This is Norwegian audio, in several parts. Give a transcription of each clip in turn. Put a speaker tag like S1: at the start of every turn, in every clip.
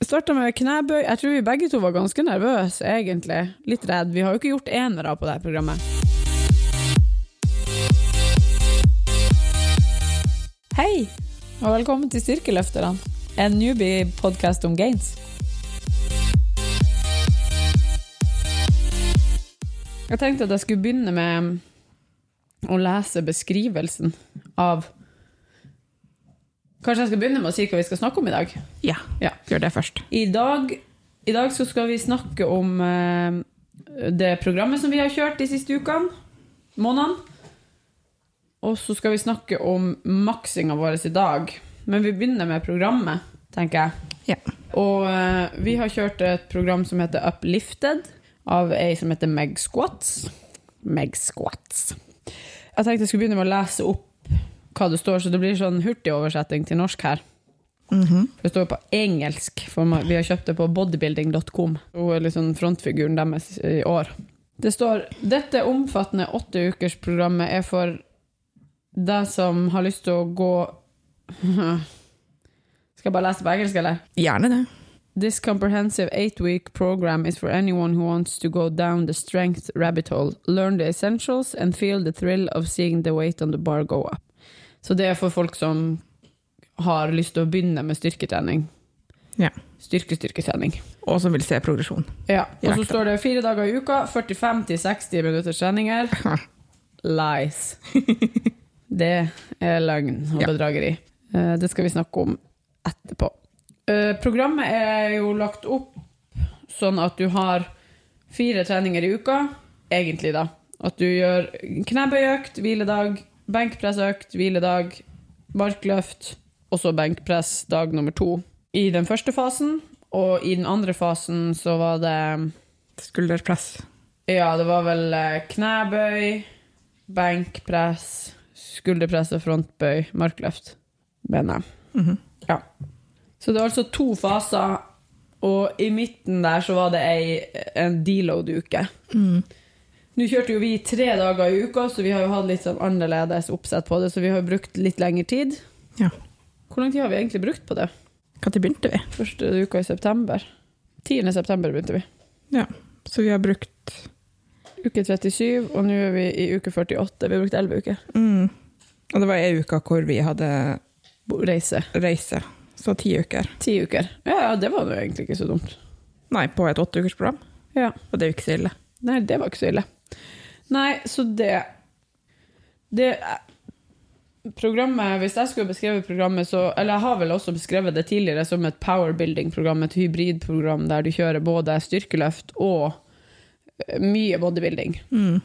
S1: starta med knebøy. Jeg tror vi begge to var ganske nervøse, egentlig. Litt redd. Vi har jo ikke gjort enere på dette programmet. Hei, og velkommen til Styrkeløfterne. En newbie-podkast om gains. Jeg tenkte at jeg skulle begynne med å lese beskrivelsen av Kanskje jeg skal begynne med å si hva vi skal snakke om i dag?
S2: Ja,
S1: Ja.
S2: gjør det først.
S1: I dag, i dag så skal vi snakke om eh, det programmet som vi har kjørt de siste ukene, månedene. Og så skal vi snakke om maksinga vår i dag. Men vi begynner med programmet, tenker jeg.
S2: Ja.
S1: Og eh, vi har kjørt et program som heter Uplifted, av ei som heter Meg Squats. Meg Squats. Jeg tenkte jeg skulle begynne med å lese opp hva det står, så det blir sånn hurtig oversetting til norsk her.
S2: Mhm.
S1: Det står på engelsk, for ma- vi har kjøpt det på bodybuilding.com. Hun er liksom frontfiguren deres i år. Det står dette omfattende åtteukersprogrammet er for deg som har lyst til å gå Skal jeg bare lese på engelsk, eller?
S2: Gjerne det.
S1: This comprehensive eight week program is for anyone who wants to go down the strength rabbit hole, learn the essentials, and feel the thrill of seeing the weight on the bar go up. Så det er for folk som har lyst til å begynne med styrketrening.
S2: Ja.
S1: Styrke-styrketrening.
S2: Og som vil se progresjon.
S1: Ja. Og så
S2: Direkte.
S1: står det fire dager i uka, 45-60 minutters treninger. Lies. Det er løgn og
S2: Ja.
S1: bedrageri. Eh, Det skal vi snakke om etterpå. Eh, Programmet er jo lagt opp sånn at du har fire treninger i uka, egentlig da. At du gjør knebøyøkt, hviledag, benkpressøkt, hviledag, markløft, og så benkpress dag nummer to. I den første fasen, og i den andre fasen så var det
S2: Skulderpress.
S1: ja, det var vel eh, knebøy, benkpress, skulderpress og frontbøy, markløft, mener jeg. Ja. Så det var altså to faser, og i midten der så var det ei, en deload-uke.
S2: Mm.
S1: Nå kjørte jo vi tre dager i uka, så vi har jo hatt litt sånn annerledes oppsett på det, så vi har jo brukt litt lengre tid.
S2: Ja.
S1: Hvor lang tid har vi egentlig brukt på det?
S2: Når begynte vi?
S1: Første uka i september. 10. september begynte vi.
S2: Ja. Så vi har brukt
S1: Uke 37, og nå er vi i uke 48. Vi har brukt 11 uker.
S2: mm. Og det var ei uke hvor vi hadde
S1: Bo- Reise.
S2: reise. Så ti uker.
S1: Ti uker. Ja, ja, det var jo egentlig ikke så dumt.
S2: Nei, på et åtteukersprogram.
S1: Ja.
S2: Og det er jo ikke så ille.
S1: Nei, det var ikke så ille. Nei, så det Det Programmet, Hvis jeg skulle beskrevet programmet, så Eller jeg har vel også beskrevet det tidligere som et powerbuilding-program, et hybridprogram der du kjører både styrkeløft og eh, mye bodybuilding.
S2: Mm.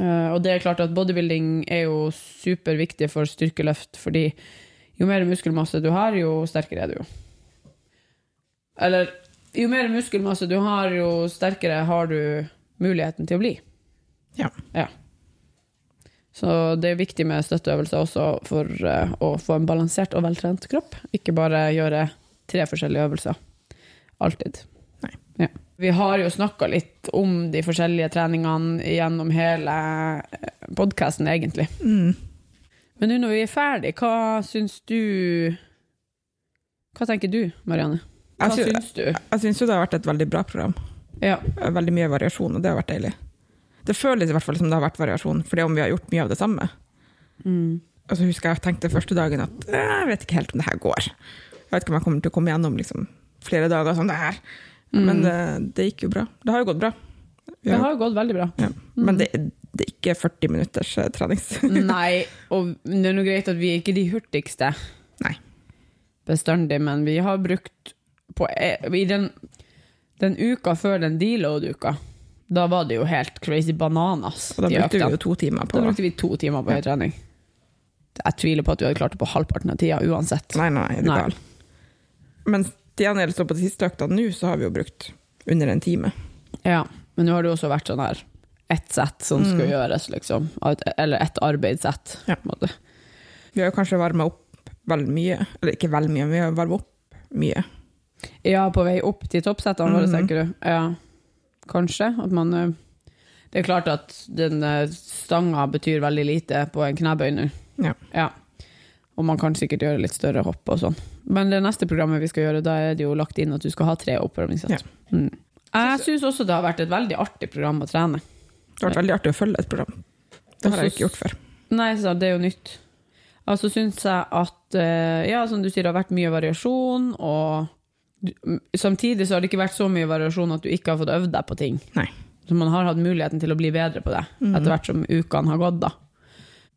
S1: Eh, og det er klart at bodybuilding er jo superviktig for styrkeløft, fordi jo mer muskelmasse du har, jo sterkere er du jo. Eller jo mer muskelmasse du har, jo sterkere har du muligheten til å bli.
S2: Ja.
S1: Ja. Så det er viktig med støtteøvelser også for eh, å få en balansert og veltrent kropp. Ikke bare gjøre tre forskjellige øvelser. Alltid.
S2: Nei.
S1: Ja. Vi har jo snakka litt om de forskjellige treningene gjennom hele podkasten, egentlig.
S2: Mm.
S1: Men nå når vi er ferdig, hva syns du Hva tenker du, Marianne? Hva
S2: Jeg syns,
S1: syns du?
S2: jeg syns jo det har vært et veldig bra program.
S1: Ja.
S2: Veldig mye variasjon, og det har vært deilig. Det føles i hvert fall som det har vært variasjon, fordi om vi har gjort mye av det samme.
S1: Mm.
S2: Og så Altså, husker jeg jeg tenkte første dagen at «Eh, jeg vet ikke helt om det her går. Jeg vet ikke om jeg kommer til å komme gjennom liksom, flere dager som det her.
S1: Mm.
S2: Men det, det gikk jo bra. Det har jo gått bra. Vi
S1: Det
S2: har,
S1: har jo gått veldig bra.
S2: ja. Men det, det er ikke 40 minutters eh, trenings.
S1: Nei, og det er noe greit at vi er ikke de hurtigste
S2: Nei.
S1: bestandig, men vi har brukt på, eh, I den, den uka før den deload-uka, da var det jo helt crazy bananas.
S2: Og da
S1: de
S2: brukte vi
S1: øktene.
S2: jo to timer på
S1: da brukte vi to timer på høytrening. Jeg tviler på at vi hadde klart det på halvparten av tida uansett.
S2: Nei, nei, er du
S1: Nei.
S2: gal. Men til gjengjeld så på de siste økta nå, så har vi jo brukt under en time.
S1: Ja, men nå har det jo også vært sånn her ett sett som skal gjøres, liksom. At- Eller ett arbeidssett.
S2: Mm. Ja.
S1: på en måte.
S2: Vi har jo kanskje varma opp veldig mye. Eller ikke veldig mye, men vi har varma opp mye.
S1: Ja, på vei opp til toppsettene våre, tenker du? Ja, kanskje. At man eh, Det er klart eh, at den stanga betyr veldig lite på en knebøy nå.
S2: Ja.
S1: Ja. Og man kan sikkert gjøre litt større hopp og sånn. Men det neste programmet vi skal gjøre, da er det jo lagt inn at du skal ha tre oppvarmingssett. Mm. Jeg syns også det har vært et veldig artig program å trene.
S2: Det har vært veldig artig å følge et program. Det har jeg ikke gjort før.
S1: Nei, så det er jo nytt. Og så syns jeg at eh, Ja, som du sier, det har vært mye variasjon, og du- m- samtidig så har det ikke vært så mye variasjon at du ikke har fått øvd deg på ting.
S2: Nei.
S1: Så man har hatt muligheten til å bli bedre på det etter hvert som ukene har gått, da.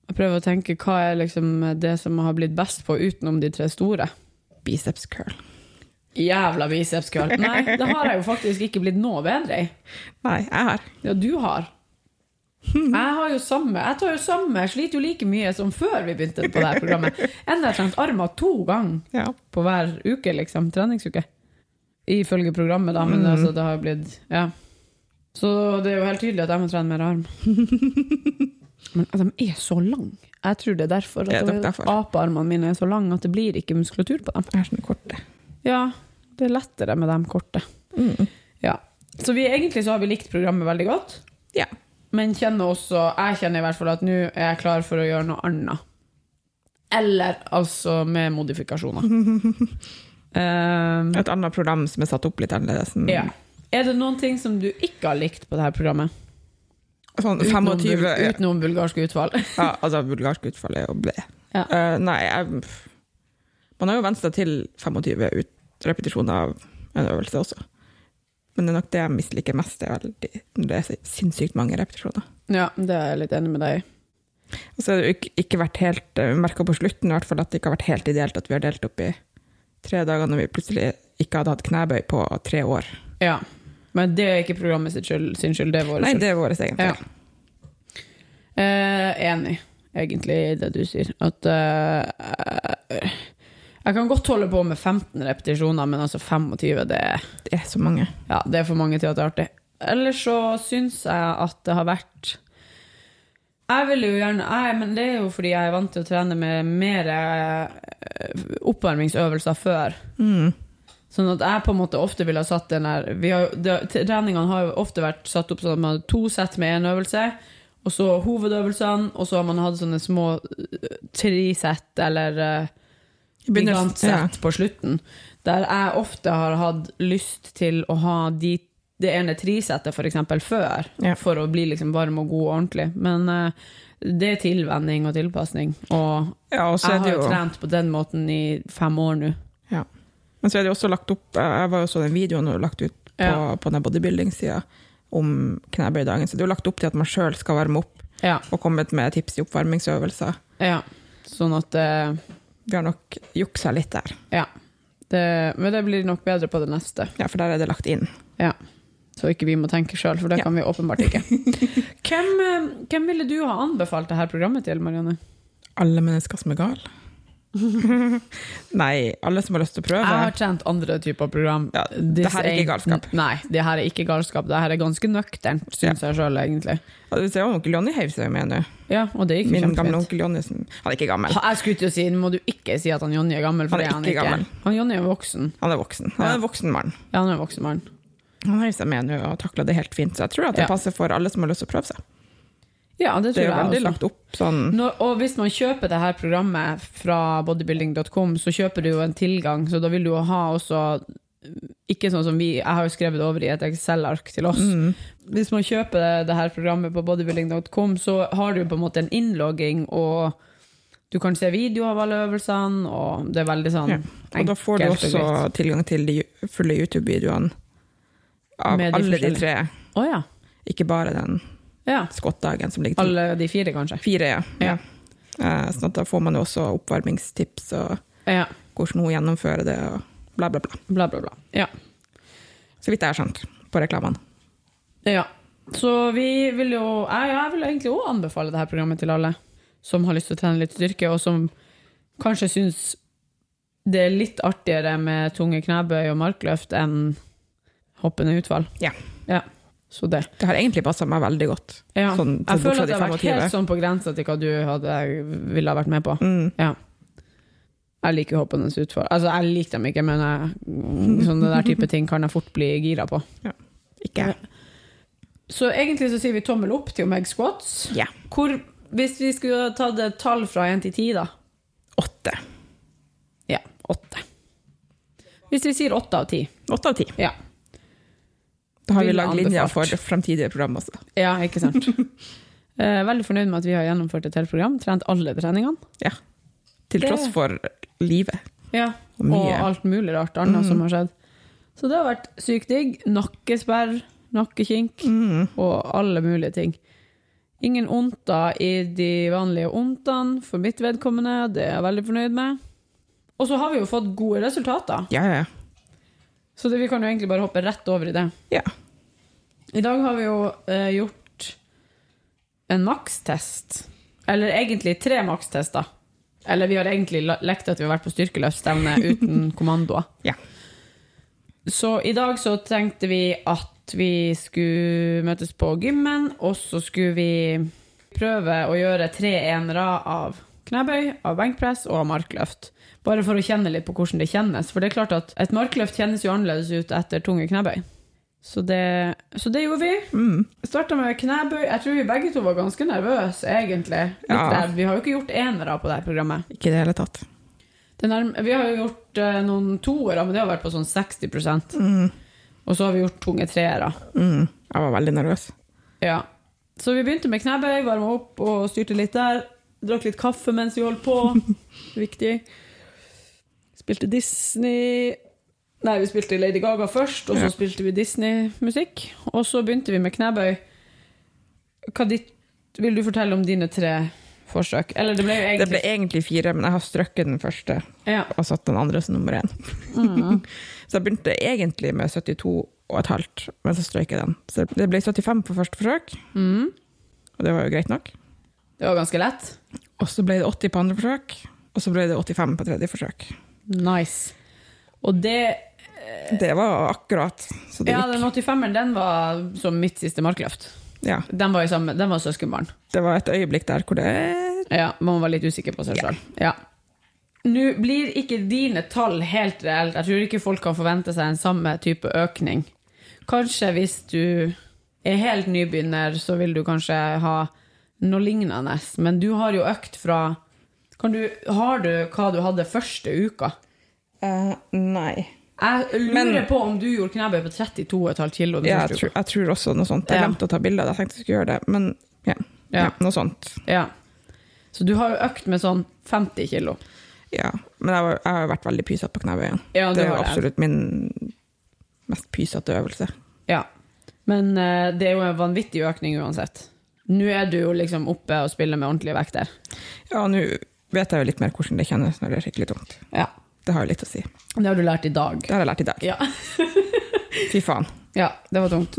S1: Jeg prøver å tenke hva er liksom det som har blitt best på utenom de tre store.
S2: Biceps curl.
S1: Jævla biceps curl. Nei, det har jeg jo faktisk ikke blitt noe bedre i.
S2: Nei, jeg har.
S1: Ja, du har. Jeg har jo samme. Jeg tar jo samme. Jeg sliter jo like mye som før vi begynte på det her programmet. Enda jeg har trent armer to ganger
S2: Ja.
S1: på hver uke, liksom. Treningsuke. Ifølge programmet, da,
S2: Mm.
S1: men altså, det har jo blitt Ja. Så det er jo helt tydelig at jeg må trene mer arm. Men altså, de er så lange. Jeg tror det er derfor.
S2: Det er
S1: At
S2: nok derfor.
S1: Apearmene mine er så lange at det blir ikke muskulatur på dem.
S2: Jeg har sånne korte.
S1: Ja, det er lettere med dem korte. Mm. Ja. Så vi, egentlig så har vi likt programmet veldig godt.
S2: Ja.
S1: Men kjenner også, jeg kjenner i hvert fall at nå er jeg klar for å gjøre noe annet. Eller altså med modifikasjoner. Ehm,
S2: Et annet program som er satt opp litt annerledes. enn-
S1: ja. Er det noen ting som du ikke har likt på dette programmet?
S2: Sånn
S1: Utenom,
S2: 25
S1: bul- utenom bulgarske utfall.
S2: ja, Altså, bulgarsk utfall er jo ble.
S1: Ja.
S2: Eh, nei, jeg Man har jo vent seg til 25 ut repetisjoner av en øvelse også. Men det er nok det jeg misliker mest, det er veldig, når det er så sinnssykt mange repetisjoner.
S1: ja, det er jeg litt enig med deg i.
S2: Og så har det jo ikke, ikke vært helt merka på slutten i hvert fall at det ikke har vært helt ideelt at vi har delt opp i tre dager når vi plutselig ikke hadde hatt knebøy på tre år.
S1: Ja. Men det er ikke programmet sitt skyld, sin skyld, det er vår
S2: Nei,
S1: skyld.
S2: det er vår egen feil.
S1: Ja. Eh, enig, egentlig, i det du sier. At eh, Jeg kan godt holde på med 15 repetisjoner, men altså 25, det er
S2: Det er så mange.
S1: Ja, det er for mange til at det er artig. Ellers så syns jeg at det har vært Jeg vil jo gjerne Nei, men det er jo fordi jeg er vant til å trene med mer eh, oppvarmingsøvelser før.
S2: Mm.
S1: Sånn at jeg på en måte ofte ville ha satt den der vi har, jo- det, Treningene har jo ofte vært satt opp sånn at man har to sett med én øvelse, og så hovedøvelsene, og så har man hatt sånne små eh, trisett eller eh, gigantsett
S2: ja.
S1: på slutten. Der jeg ofte har hatt lyst til å ha de, det ene trisettet for eksempel før,
S2: Ja.
S1: for å bli liksom varm og god og ordentlig. Men eh, det er tilvenning og tilpasning. Og
S2: ja, og så
S1: jeg har
S2: er det
S1: jo
S2: jo
S1: trent på den måten i fem år nå.
S2: ja. Men så er det jo også lagt opp eh, Jeg var jo så den videoen du lagt ut på,
S1: Ja.
S2: på den bodybuilding-sida om knebøydagen, så det er jo lagt opp til at man sjøl skal varme opp
S1: Ja,
S2: og komme med tips i oppvarmingsøvelser.
S1: ja. Sånn at eh,
S2: Vi har nok juksa litt der,
S1: Ja. Det, men det blir nok bedre på det neste.
S2: ja, for der er det lagt inn.
S1: Ja. Så ikke vi må tenke sjøl, for det
S2: Ja.
S1: kan vi åpenbart ikke. hvem, eh, hvem ville du ha anbefalt dette programmet til, Marianne?
S2: Alle mennesker som er gale. Nei, alle som har lyst til å prøve.
S1: Jeg har trent andre typer program.
S2: Ja,
S1: This
S2: det her er ikke
S1: ain't-
S2: galskap.
S1: Nei, det her er ikke galskap. Det her er ganske nøkternt, syns jeg sjøl, egentlig.
S2: Ja, Du ser jo onkel Jonny heiv seg jo med nå.
S1: Ja, og det gikk jo
S2: Min gamle
S1: kjempefint.
S2: onkel Jonny som Han er ikke gammel,
S1: Ha, Jeg skulle til å si, nå må du ikke si at han Jonny er gammel, for
S2: Han er
S1: det er han
S2: ikke
S1: ikke.
S2: gammel.
S1: Han Jonny er voksen.
S2: han er voksen. Han er
S1: Ja.
S2: en voksen mann.
S1: Ja, han er en voksen mann.
S2: Han heiv seg med nå og takla det helt fint, så jeg tror at det
S1: Ja.
S2: passer for alle som har lyst til å prøve seg.
S1: Ja, det
S2: Det
S1: tror
S2: er jo
S1: jeg
S2: veldig
S1: også.
S2: lagt opp sånn
S1: Når, og hvis man kjøper det her programmet fra bodybuilding.com, så kjøper du jo en tilgang, så da vil du jo ha også ikke sånn som vi, Jeg har jo skrevet det over i et Excel-ark til oss.
S2: Mm.
S1: Hvis man kjøper det, det her programmet på bodybuilding.com, så har du på en måte en innlogging, og du kan se video av alle øvelsene, og det er veldig sånn
S2: Ja. Og da får du
S1: enkelt og
S2: også
S1: greit.
S2: tilgang til de fulle YouTube-videoene av
S1: Med de
S2: alle de
S1: forskjellige.
S2: tre,
S1: Å ja.
S2: ikke bare den
S1: ja.
S2: skottdagen som ligger til.
S1: Alle de fire, kanskje.
S2: Fire, ja.
S1: Ja.
S2: Eh, Sånn at da får man jo også oppvarmingstips og
S1: Ja.
S2: hvordan hun gjennomfører det, og bla, bla, bla.
S1: Bla, bla, bla. Ja.
S2: Så vidt jeg har skjønt på reklamene.
S1: Ja. Så vi vil jo Jeg, jeg vil egentlig òg anbefale dette programmet til alle som har lyst til å trene litt styrke, og som kanskje syns det er litt artigere med tunge knebøy og markløft enn hoppende utfall.
S2: Ja.
S1: Ja. Så det.
S2: Det har egentlig passa meg veldig godt.
S1: Ja.
S2: Sånn,
S1: jeg
S2: bortsett
S1: føler at det har
S2: fra de
S1: vært
S2: 25.
S1: helt sånn på grensa til hva du hadde, ville ha vært med på.
S2: Mm.
S1: Ja. Jeg liker hoppende utfall. Altså, jeg liker dem ikke, men jeg, sånne der type ting kan jeg fort bli gira på.
S2: Ikke jeg.
S1: Så egentlig så sier vi tommel opp til Omeg Squats.
S2: Ja.
S1: Hvor, hvis vi skulle tatt et tall fra 1 til 10, da?
S2: Åtte.
S1: åtte. Hvis vi sier åtte av ti.
S2: Åtte av ti.
S1: Ja.
S2: Da har vi
S1: Ville
S2: lagd linja for
S1: anbefalt.
S2: fremtidige program også.
S1: ja, ikke sant? Eh, Veldig fornøyd med at vi har gjennomført et helt program. Trent alle treningene.
S2: Ja. Til
S1: Det-
S2: tross for livet.
S1: Ja, Mhm.
S2: Og
S1: og
S2: mye.
S1: alt mulig rart annet som har skjedd. Så det har vært sykt digg. Nakkesperr, nakkekink
S2: Mm.
S1: og alle mulige ting. Ingen ondter i de vanlige ondtene for mitt vedkommende, det er jeg veldig fornøyd med. Og så har vi jo fått gode resultater,
S2: Ja, ja,
S1: så det, vi kan jo egentlig bare hoppe rett over i det.
S2: ja.
S1: I dag har vi jo eh, gjort en makstest. Eller egentlig tre makstester. Eller vi har egentlig la- lekt at vi har vært på styrkeløftstevne uten kommandoer.
S2: Ja.
S1: Så i dag så tenkte vi at vi skulle møtes på gymmen, og så skulle vi prøve å gjøre tre enere av knebøy, av benkpress og av markløft. Bare for å kjenne litt på hvordan det kjennes. For det er klart at et markløft kjennes jo annerledes ut etter tunge knebøy. Så det, så det gjorde vi.
S2: Mm.
S1: Starta med knebøy. Jeg tror vi begge to var ganske nervøse, egentlig. Litt
S2: Ja.
S1: redd. Vi har jo ikke gjort enere på det her programmet.
S2: Ikke i det hele tatt.
S1: Det nærm- vi har jo gjort eh, noen toere, men det har vært på sånn 60 Og så har vi gjort tunge treere.
S2: Mm. Jeg var veldig nervøs.
S1: Ja. Så vi begynte med knebøy, varma opp og styrte litt der. Drakk litt kaffe mens vi holdt på. Viktig. Spilte Disney Nei, vi spilte Lady Gaga først, og så
S2: Ja.
S1: spilte vi Disney-musikk. Og så begynte vi med knebøy. Hva ditt, vil du fortelle om dine tre forsøk? Eller det ble jo
S2: Det
S1: egentlig
S2: ble egentlig fire, men jeg har strøkket den første
S1: ja.
S2: og satt den andre som nummer én. så jeg begynte egentlig med 72 og et halvt, men så strøk jeg den. Så det ble 75 på første forsøk,
S1: mm.
S2: og det var jo greit nok.
S1: Det var ganske lett.
S2: Og så ble det 80 på andre forsøk, og så ble det 85 på tredje forsøk.
S1: Nice. Og det
S2: Det var akkurat så det
S1: Ja,
S2: gikk.
S1: den 85-eren, den var som mitt siste markløft.
S2: Ja,
S1: Den var, i samme, den var søskenbarn.
S2: det var et øyeblikk der hvor det
S1: Ja, man var litt usikker på seg sjøl. Ja. Nå blir ikke dine tall helt reelt. Jeg tror ikke folk kan forvente seg en samme type økning. Kanskje hvis du er helt nybegynner, så vil du kanskje ha noe lignende. Men du har jo økt fra kan du, Har du hva du hadde første uka?
S2: Eh, Nei.
S1: Jeg lurer
S2: Men-
S1: på om du gjorde knebøy på 32,5 kilo den
S2: Ja, jeg,
S1: første uka.
S2: tror, jeg tror også noe sånt. Jeg
S1: Ja.
S2: glemte å ta bilder, jeg tenkte jeg skulle gjøre det, men ja,
S1: Ja.
S2: ja. noe sånt.
S1: Ja. Så du har jo økt med sånn 50 kilo.
S2: Ja. Men jeg, var, jeg har vært veldig pysete på knebøyen.
S1: Ja,
S2: det
S1: det
S2: er
S1: har jeg.
S2: absolutt min mest pysete øvelse.
S1: Ja. Men eh, det er jo en vanvittig økning uansett. Nå er du jo liksom oppe og spiller med ordentlige vekter.
S2: Ja, nå vet jeg jo litt mer hvordan det kjennes når det er skikkelig tungt.
S1: Ja.
S2: Det har jo litt å si. Det
S1: Det har du lært i dag.
S2: har jeg lært i dag.
S1: Ja,
S2: Fy faen.
S1: ja det var tungt.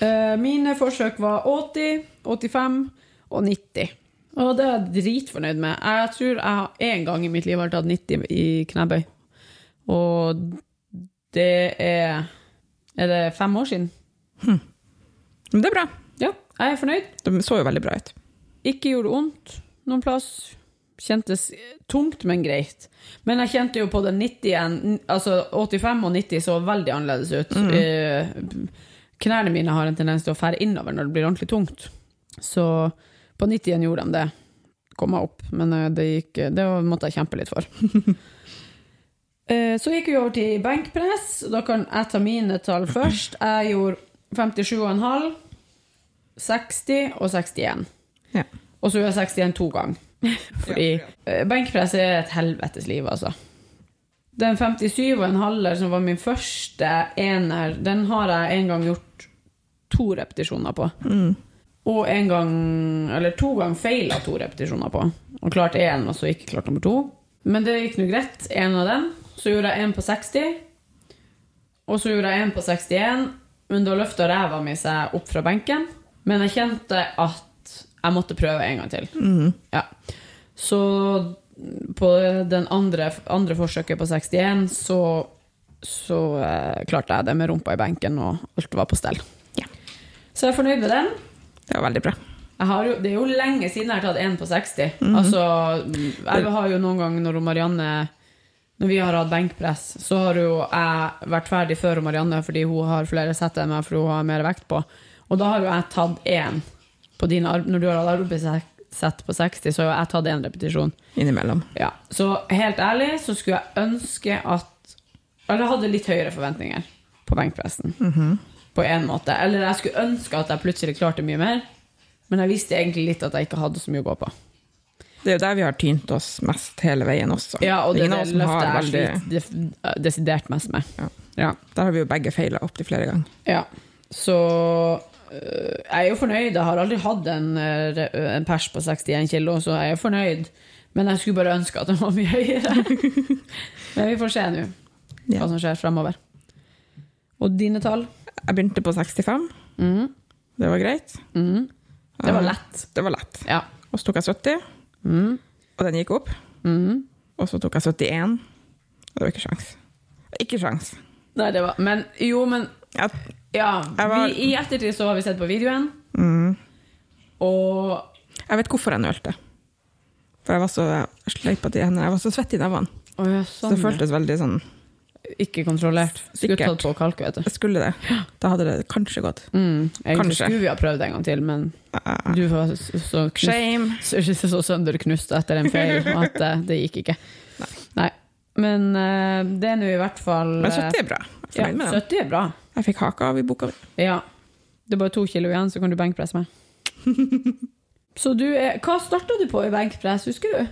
S1: Eh, mine forsøk var 80, 85 og 90. Og det er jeg dritfornøyd med. Jeg tror jeg har én gang i mitt liv har tatt 90 i knebøy. Og det er Er det fem år siden?
S2: Men det er bra.
S1: Ja, jeg er fornøyd.
S2: De så jo veldig bra ut.
S1: Ikke gjorde vondt noen plass. Kjentes tungt, men greit. Men jeg kjente jo på den 90-en Altså 85 og 90 så veldig annerledes ut. Eh, Knærne mine har en tendens til å fære innover når det blir ordentlig tungt. Så på 90-en gjorde de det. Kom meg opp. Men eh, det, gikk, det måtte jeg kjempe litt for. Eh, Så gikk vi over til benkpress. Da kan jeg ta mine tall først. Jeg gjorde 57,5, 60 og 61.
S2: Ja.
S1: Og så gjør jeg 61 to ganger. Fordi eh, benkpress er et helvetes liv, altså. Den 57 og en halver som var min første ener, den har jeg en gang gjort to repetisjoner på. Og en gang, eller to ganger feila to repetisjoner på. Og klart én, og så ikke klart nummer to. Men det gikk nå greit. En av dem. Så gjorde jeg en på 60. Og så gjorde jeg en på 61, men da løfta ræva mi seg opp fra benken. Men jeg kjente at jeg måtte prøve en gang til. Ja. Så på den andre, andre forsøket på 61, så, så eh, klarte jeg det med rumpa i benken, og alt var på stell.
S2: Ja.
S1: Så jeg er fornøyd med den.
S2: Det var veldig bra.
S1: Jeg har jo, det er jo lenge siden jeg har tatt en på 60. Altså, jeg har jo noen gang når hun Marianne Når vi har hatt benkpress, så har jo jeg vært ferdig før hun Marianne fordi hun har flere sett enn meg fordi hun har mer vekt på. Og da har jo jeg tatt én på dine arm, når du har hatt arbeidsvekt sett på 60, så har jeg tatt én repetisjon.
S2: innimellom.
S1: Ja. Så helt ærlig så skulle jeg ønske at Eller jeg hadde litt høyere forventninger på benkpressen.
S2: Mhm.
S1: På en måte. Eller jeg skulle ønske at jeg plutselig klarte mye mer, men jeg visste egentlig litt at jeg ikke hadde så mye å gå på.
S2: Det er jo der vi har tynt oss mest hele veien også.
S1: Ja, og det,
S2: Ingen av
S1: det
S2: oss som har
S1: løftet jeg
S2: veldig-
S1: sliter def- desidert mest med.
S2: Ja.
S1: Ja.
S2: Der har vi jo begge feila opptil flere ganger.
S1: Ja, så øh, jeg er jo fornøyd. Jeg har aldri hatt en, øh, re- øh, en pers på 61 kilo, så jeg er jo fornøyd. Men jeg skulle bare ønske at den var mye høyere. Men vi får se nå
S2: Ja.
S1: hva som skjer fremover. Og dine tall?
S2: Jeg begynte på 65,
S1: Mhm,
S2: det var greit.
S1: mhm. Det var
S2: Ja,
S1: lett.
S2: Det var lett.
S1: Ja.
S2: Og så tok jeg 70,
S1: Mhm,
S2: og den gikk opp.
S1: mhm.
S2: Og så tok jeg 71, og det var ikke sjans. Ikke sjans.
S1: Nei, det var Men jo, men
S2: Jeg,
S1: Ja.
S2: Jeg var-
S1: Vi, I ettertid så har vi sett på videoen,
S2: mm,
S1: og
S2: jeg vet hvorfor jeg nølte. For jeg var så jeg sleipa til hendene. Jeg var så svett i nevene.
S1: Å ja,
S2: Så
S1: sånn.
S2: det føltes veldig sånn
S1: ja. Ikke kontrollert. Skulle tatt
S2: Sikkert.
S1: på kalk, vet du.
S2: Jeg skulle det. Da hadde det kanskje gått.
S1: Mm, egentlig
S2: Kanskje.
S1: skulle vi ha prøvd en gang til, men
S2: Ah,
S1: Du var så, så, knust,
S2: Shame.
S1: så, så sønderknust etter en feil at eh, det gikk ikke. Nei. Men eh, det er nå i hvert fall
S2: Men
S1: eh,
S2: 70 er bra. Jeg er
S1: ja,
S2: Fornøyd med den.
S1: 70 er bra.
S2: Jeg fikk haka av i boka mi.
S1: Ja. Det er bare to kilo igjen, så kan du benkpresse meg. så du er Hva starta du på i benkpress, husker du?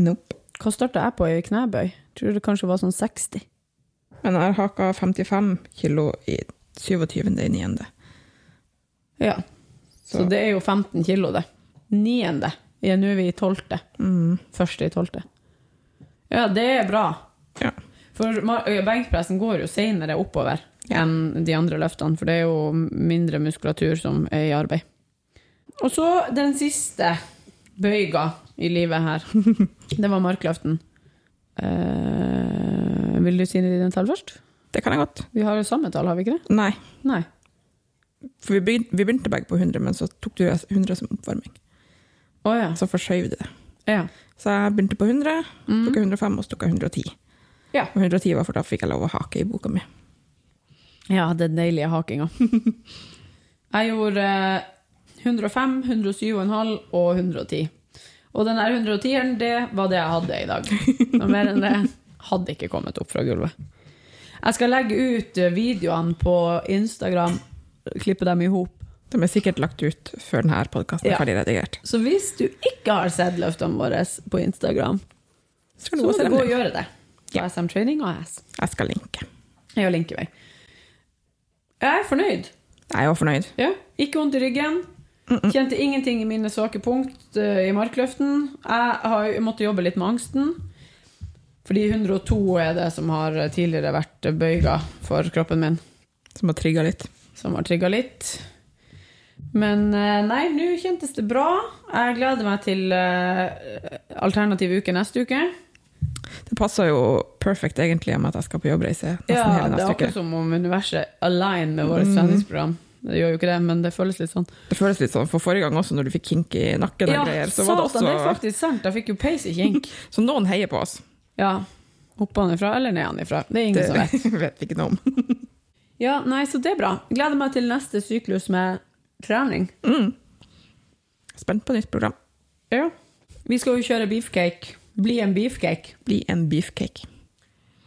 S2: Nope.
S1: Hva starta jeg på i knebøy? Tror det kanskje var sånn 60.
S2: Men jeg har haka 55 kilo i 27. i 9.
S1: Ja. Så
S2: Så.
S1: det er jo 15 kilo, det. Niende. Ja, nå er vi i tolvte.
S2: Mm.
S1: Første i tolvte. Ja, det er bra.
S2: Ja.
S1: For ma- ø, benkpressen går jo senere oppover
S2: Ja.
S1: enn de andre løftene, for det er jo mindre muskulatur som er i arbeid. Og så den siste bøyga i livet her. Det var markløften. Eh, vil du si dine tall først?
S2: Det kan jeg godt.
S1: Vi har jo samme tall, har vi ikke det?
S2: Nei.
S1: Nei.
S2: For vi begynte, vi begynte begge på 100, men så tok du 100 som oppvarming.
S1: Å ja.
S2: Så forskjøv du det.
S1: ja.
S2: Så jeg begynte på 100, tok jeg 105 og så tok jeg 110.
S1: Mhm. Ja.
S2: Og 110 var for da fikk jeg lov å hake i boka mi.
S1: Ja, den deilige hakinga. Jeg gjorde eh, 105, 107,5 og 110. Og den der 110-eren, det var det jeg hadde i dag. Noe mer enn det hadde ikke kommet opp fra gulvet. Jeg skal legge ut eh, videoene på Instagram, klippe dem i hop.
S2: De er sikkert lagt ut før denne podkasten
S1: Ja.
S2: er ferdig redigert.
S1: Så hvis du ikke har sett løftene våre på Instagram,
S2: Så
S1: så
S2: kan du
S1: må
S2: gå og se
S1: du
S2: dem.
S1: gå og
S2: der.
S1: gjøre det. På
S2: Ja.
S1: SM Training AS.
S2: Jeg skal linke.
S1: Jeg og Linkevei. Jeg er fornøyd.
S2: Jeg er jo fornøyd.
S1: Ja, ikke vondt i ryggen. Kjente ingenting i mine svake punkt eh, i markløften. Jeg har jo måttet jobbe litt med angsten. Fordi 102 er det som har tidligere vært bøyga for kroppen min,
S2: Som har trigga litt.
S1: som har trigga litt. Men eh, nei, nå kjentes det bra. Jeg gleder meg til eh, alternativ uke neste uke.
S2: Det passer jo perfekt egentlig med at jeg skal på jobbreise nesten
S1: Ja,
S2: hele
S1: Det er
S2: neste uke.
S1: akkurat som om universet aligner med vårt
S2: Mhm.
S1: treningsprogram. Det gjør jo ikke det, men det føles litt sånn.
S2: Det føles litt sånn, for forrige gang også, når du fikk kink i nakken og
S1: Ja,
S2: greier, så var det
S1: satan, det er
S2: også
S1: faktisk sant. Jeg fikk jo peis i kink.
S2: Så noen heier på oss.
S1: Ja. Oppe ifra eller ned ifra. Det er ingen
S2: Det
S1: som vet.
S2: vet vi ikke noe om.
S1: Ja, nei, så det er bra. Gleder meg til neste syklus med trening.
S2: Mm. Spent på nytt program.
S1: Ja. Vi skal jo kjøre beefcake. Bli en beefcake.
S2: Bli en beefcake.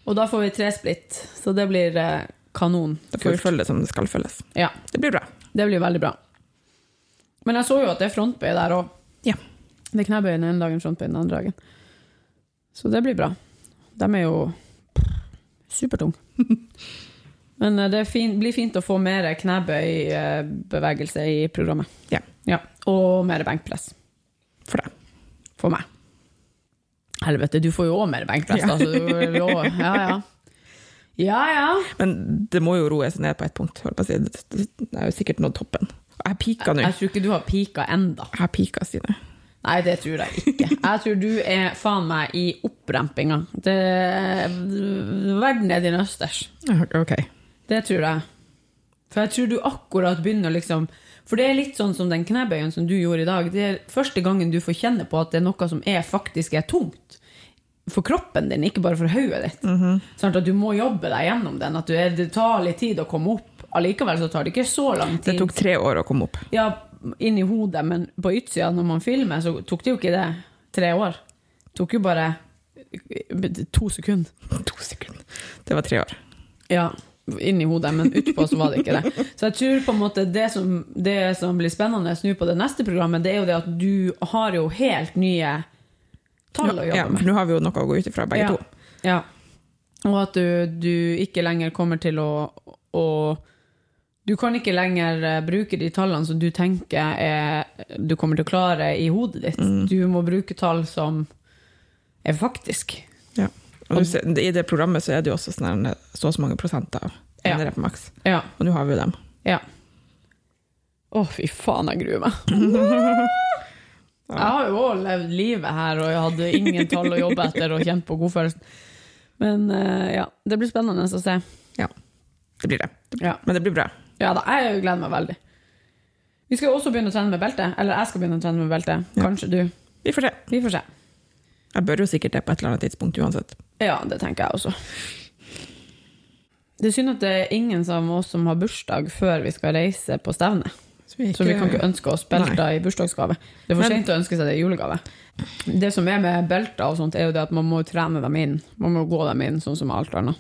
S1: Og da får vi tre splitt, så det blir eh, kanon.
S2: Da får vi følge det som det skal følges.
S1: Ja,
S2: Det blir bra.
S1: det blir veldig bra. Men jeg så jo at det er frontbøy der òg.
S2: Ja.
S1: Det er knebøy den ene dagen, frontbøy den andre dagen. Så det blir bra. De er jo supertung. Men eh, det er fin, blir fint å få mer knebøybevegelse i programmet.
S2: Ja.
S1: Og mer benkpress.
S2: For deg.
S1: For meg. Helvete, du får jo òg mer benkpress,
S2: Ja.
S1: da. Så du vil jo også- Ja, ja. Ja, ja.
S2: Men det må jo roe seg ned på et punkt. holdt på å si. Det- det- Det er jo sikkert nådd toppen. Og Jeg pika nå.
S1: Jeg tror ikke du har pika enda.
S2: Jeg pika, Stine.
S1: Nei, det tror jeg ikke. Jeg tror du er faen meg i opprempinga. Det, verden er din østers.
S2: Jeg hørte- Ok.
S1: Det tror jeg. For jeg tror du akkurat begynner å liksom For det er litt sånn som den knebøyen som du gjorde i dag. Det er første gangen du får kjenne på at det er noe som er faktisk er tungt. For kroppen din, ikke bare for hodet ditt. sånn at du må jobbe deg gjennom den. At du er, det tar litt tid å komme opp. Allikevel så tar det ikke så lang tid.
S2: Det tok tre år å komme opp.
S1: Ja, inni hodet, men på utsida når man filmer, så tok det jo ikke det tre år. Det tok jo bare eh, to sekunder.
S2: To sekunder. Det var tre år.
S1: Ja, inni hodet, men utpå så var det ikke det. Så jeg tror på en måte det som, det som blir spennende nå på det neste programmet, det er jo det at du har jo helt nye tall å
S2: Ja,
S1: jobbe
S2: for
S1: med.
S2: nå har vi jo noe å gå ut ifra, begge
S1: Ja.
S2: to.
S1: Ja. Og at du, du ikke lenger kommer til å, å Du kan ikke lenger eh, bruke de tallene som du tenker er, du kommer til å klare i hodet ditt. Du må bruke tall som er faktisk.
S2: Ja. Og du ser, I det programmet så er det jo også sånn her, så og så mange prosent av
S1: Ja.
S2: NRF maks.
S1: Ja.
S2: Og nå har vi jo dem.
S1: Ja. Å, fy faen, jeg gruer meg. Jeg har jo òg levd livet her, og jeg hadde ingen tall å jobbe etter og kjent på godfølelsen. Men eh, ja, det blir spennende å se.
S2: Ja, det blir det. det blir.
S1: Ja.
S2: Men det blir bra.
S1: Ja da, jeg gleder meg veldig. Vi skal jo også begynne å trene med belte. Eller jeg skal begynne å trene med belte.
S2: Ja.
S1: Kanskje du.
S2: Vi får se.
S1: Vi får se.
S2: Jeg bør jo sikkert det på et eller annet tidspunkt uansett.
S1: Ja, det tenker jeg også. Det er synd at det er ingen av oss som har bursdag før vi skal reise på stevne. Så vi kan ikke ønske oss belter i bursdagsgave. Det er for
S2: Men-
S1: sent å ønske seg det i julegave. Det som er med belter og sånt, er jo det at man må trene dem inn. Man må gå dem inn, sånn som med alt annet.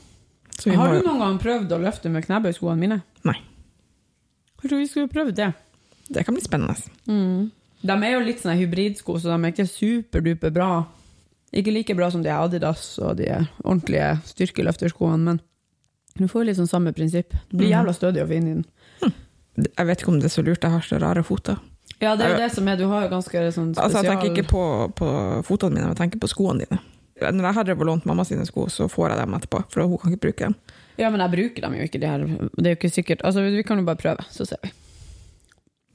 S2: Så vi må,
S1: Har du
S2: jo-
S1: noen gang prøvd å løfte med knebøyskoene mine?
S2: Nei.
S1: Jeg tror vi skulle prøvd det.
S2: Det kan bli spennende.
S1: Mm. De er jo litt sånne hybridsko, så de er ikke superduper bra. Ikke like bra som de Adidas og de ordentlige styrkeløfterskoene, men du får jo litt sånn samme prinsipp. Du blir jævla stødig å finne i den.
S2: Jeg vet ikke om det er så lurt. Jeg har så rare foter.
S1: Ja, det er jo det som er, du har jo ganske sånn spesial...
S2: Altså, jeg tenker ikke på, på fotene mine, men jeg tenker på skoene dine. Når jeg har drevet og lånt mamma sine sko, så får jeg dem etterpå, for hun kan ikke bruke dem.
S1: Ja, men jeg bruker dem jo ikke, de her. Det er jo ikke sikkert. Altså, vi kan jo bare prøve, så ser vi.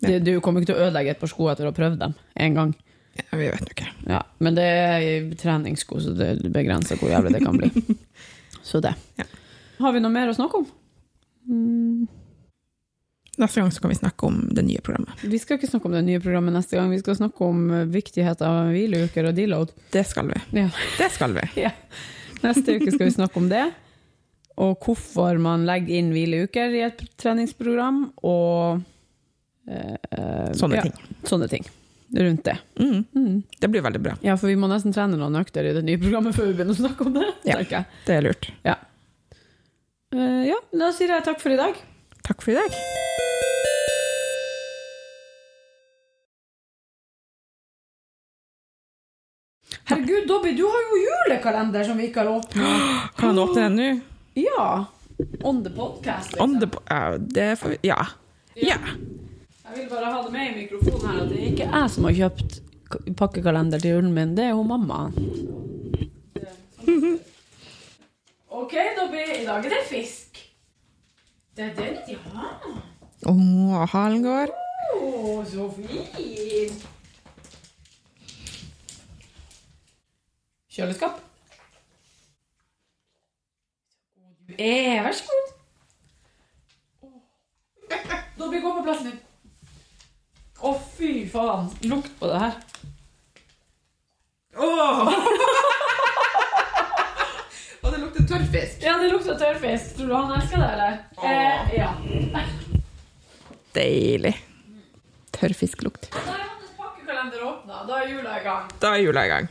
S2: Ja.
S1: Du, du kommer ikke til å ødelegge et par sko etter å ha prøvd dem en gang.
S2: Ja, vi vet jo ikke.
S1: Ja, men det er treningssko, så det begrenser hvor jævlig det kan bli. Så det.
S2: Ja.
S1: Har vi noe mer å snakke om? Mm,
S2: Neste gang så kan vi snakke om det nye programmet.
S1: Vi skal ikke snakke om det nye programmet neste gang. Vi skal snakke om eh, viktigheten av hvileuker og deload.
S2: Det skal vi.
S1: Ja.
S2: Det skal vi.
S1: Ja. Neste uke skal vi snakke om det, og hvorfor man legger inn hvileuker i et treningsprogram, og eh, eh,
S2: Sånne
S1: ja,
S2: ting.
S1: Sånne ting rundt det.
S2: Mm.
S1: Mm.
S2: Det blir veldig bra.
S1: Ja, for vi må nesten trene noen økter i det nye programmet før vi begynner å snakke om det.
S2: Ja.
S1: tenker jeg.
S2: Det er lurt.
S1: Eh, ja, da sier jeg takk for i dag.
S2: Takk for i dag.
S1: Herregud, Dobby, du har jo julekalender som vi ikke har åpna.
S2: Kan han åpne den nå?
S1: Ja. On the podcast. liksom.
S2: On the po- ja, det får vi Ja. ja.
S1: Jeg vil bare ha det med i mikrofonen her at det er ikke jeg som har kjøpt k- pakkekalender til julen min, det er jo mamma. OK, Dobby, i dag er det fisk. Det er den de har.
S2: Å, halen går.
S1: Å, så fin! Kjøleskap. Du er Vær så god. Dobby, gå på plassen din. Å, fy faen. Lukt på det her.
S2: Og det lukter tørrfisk.
S1: Ja, det lukter tørrfisk. Tror du han elsker det, eller? Eh, ja.
S2: Deilig. Tørrfisklukt.
S1: Da er hans pakkekalender åpna. Da er jula i gang.
S2: Da er jula i gang.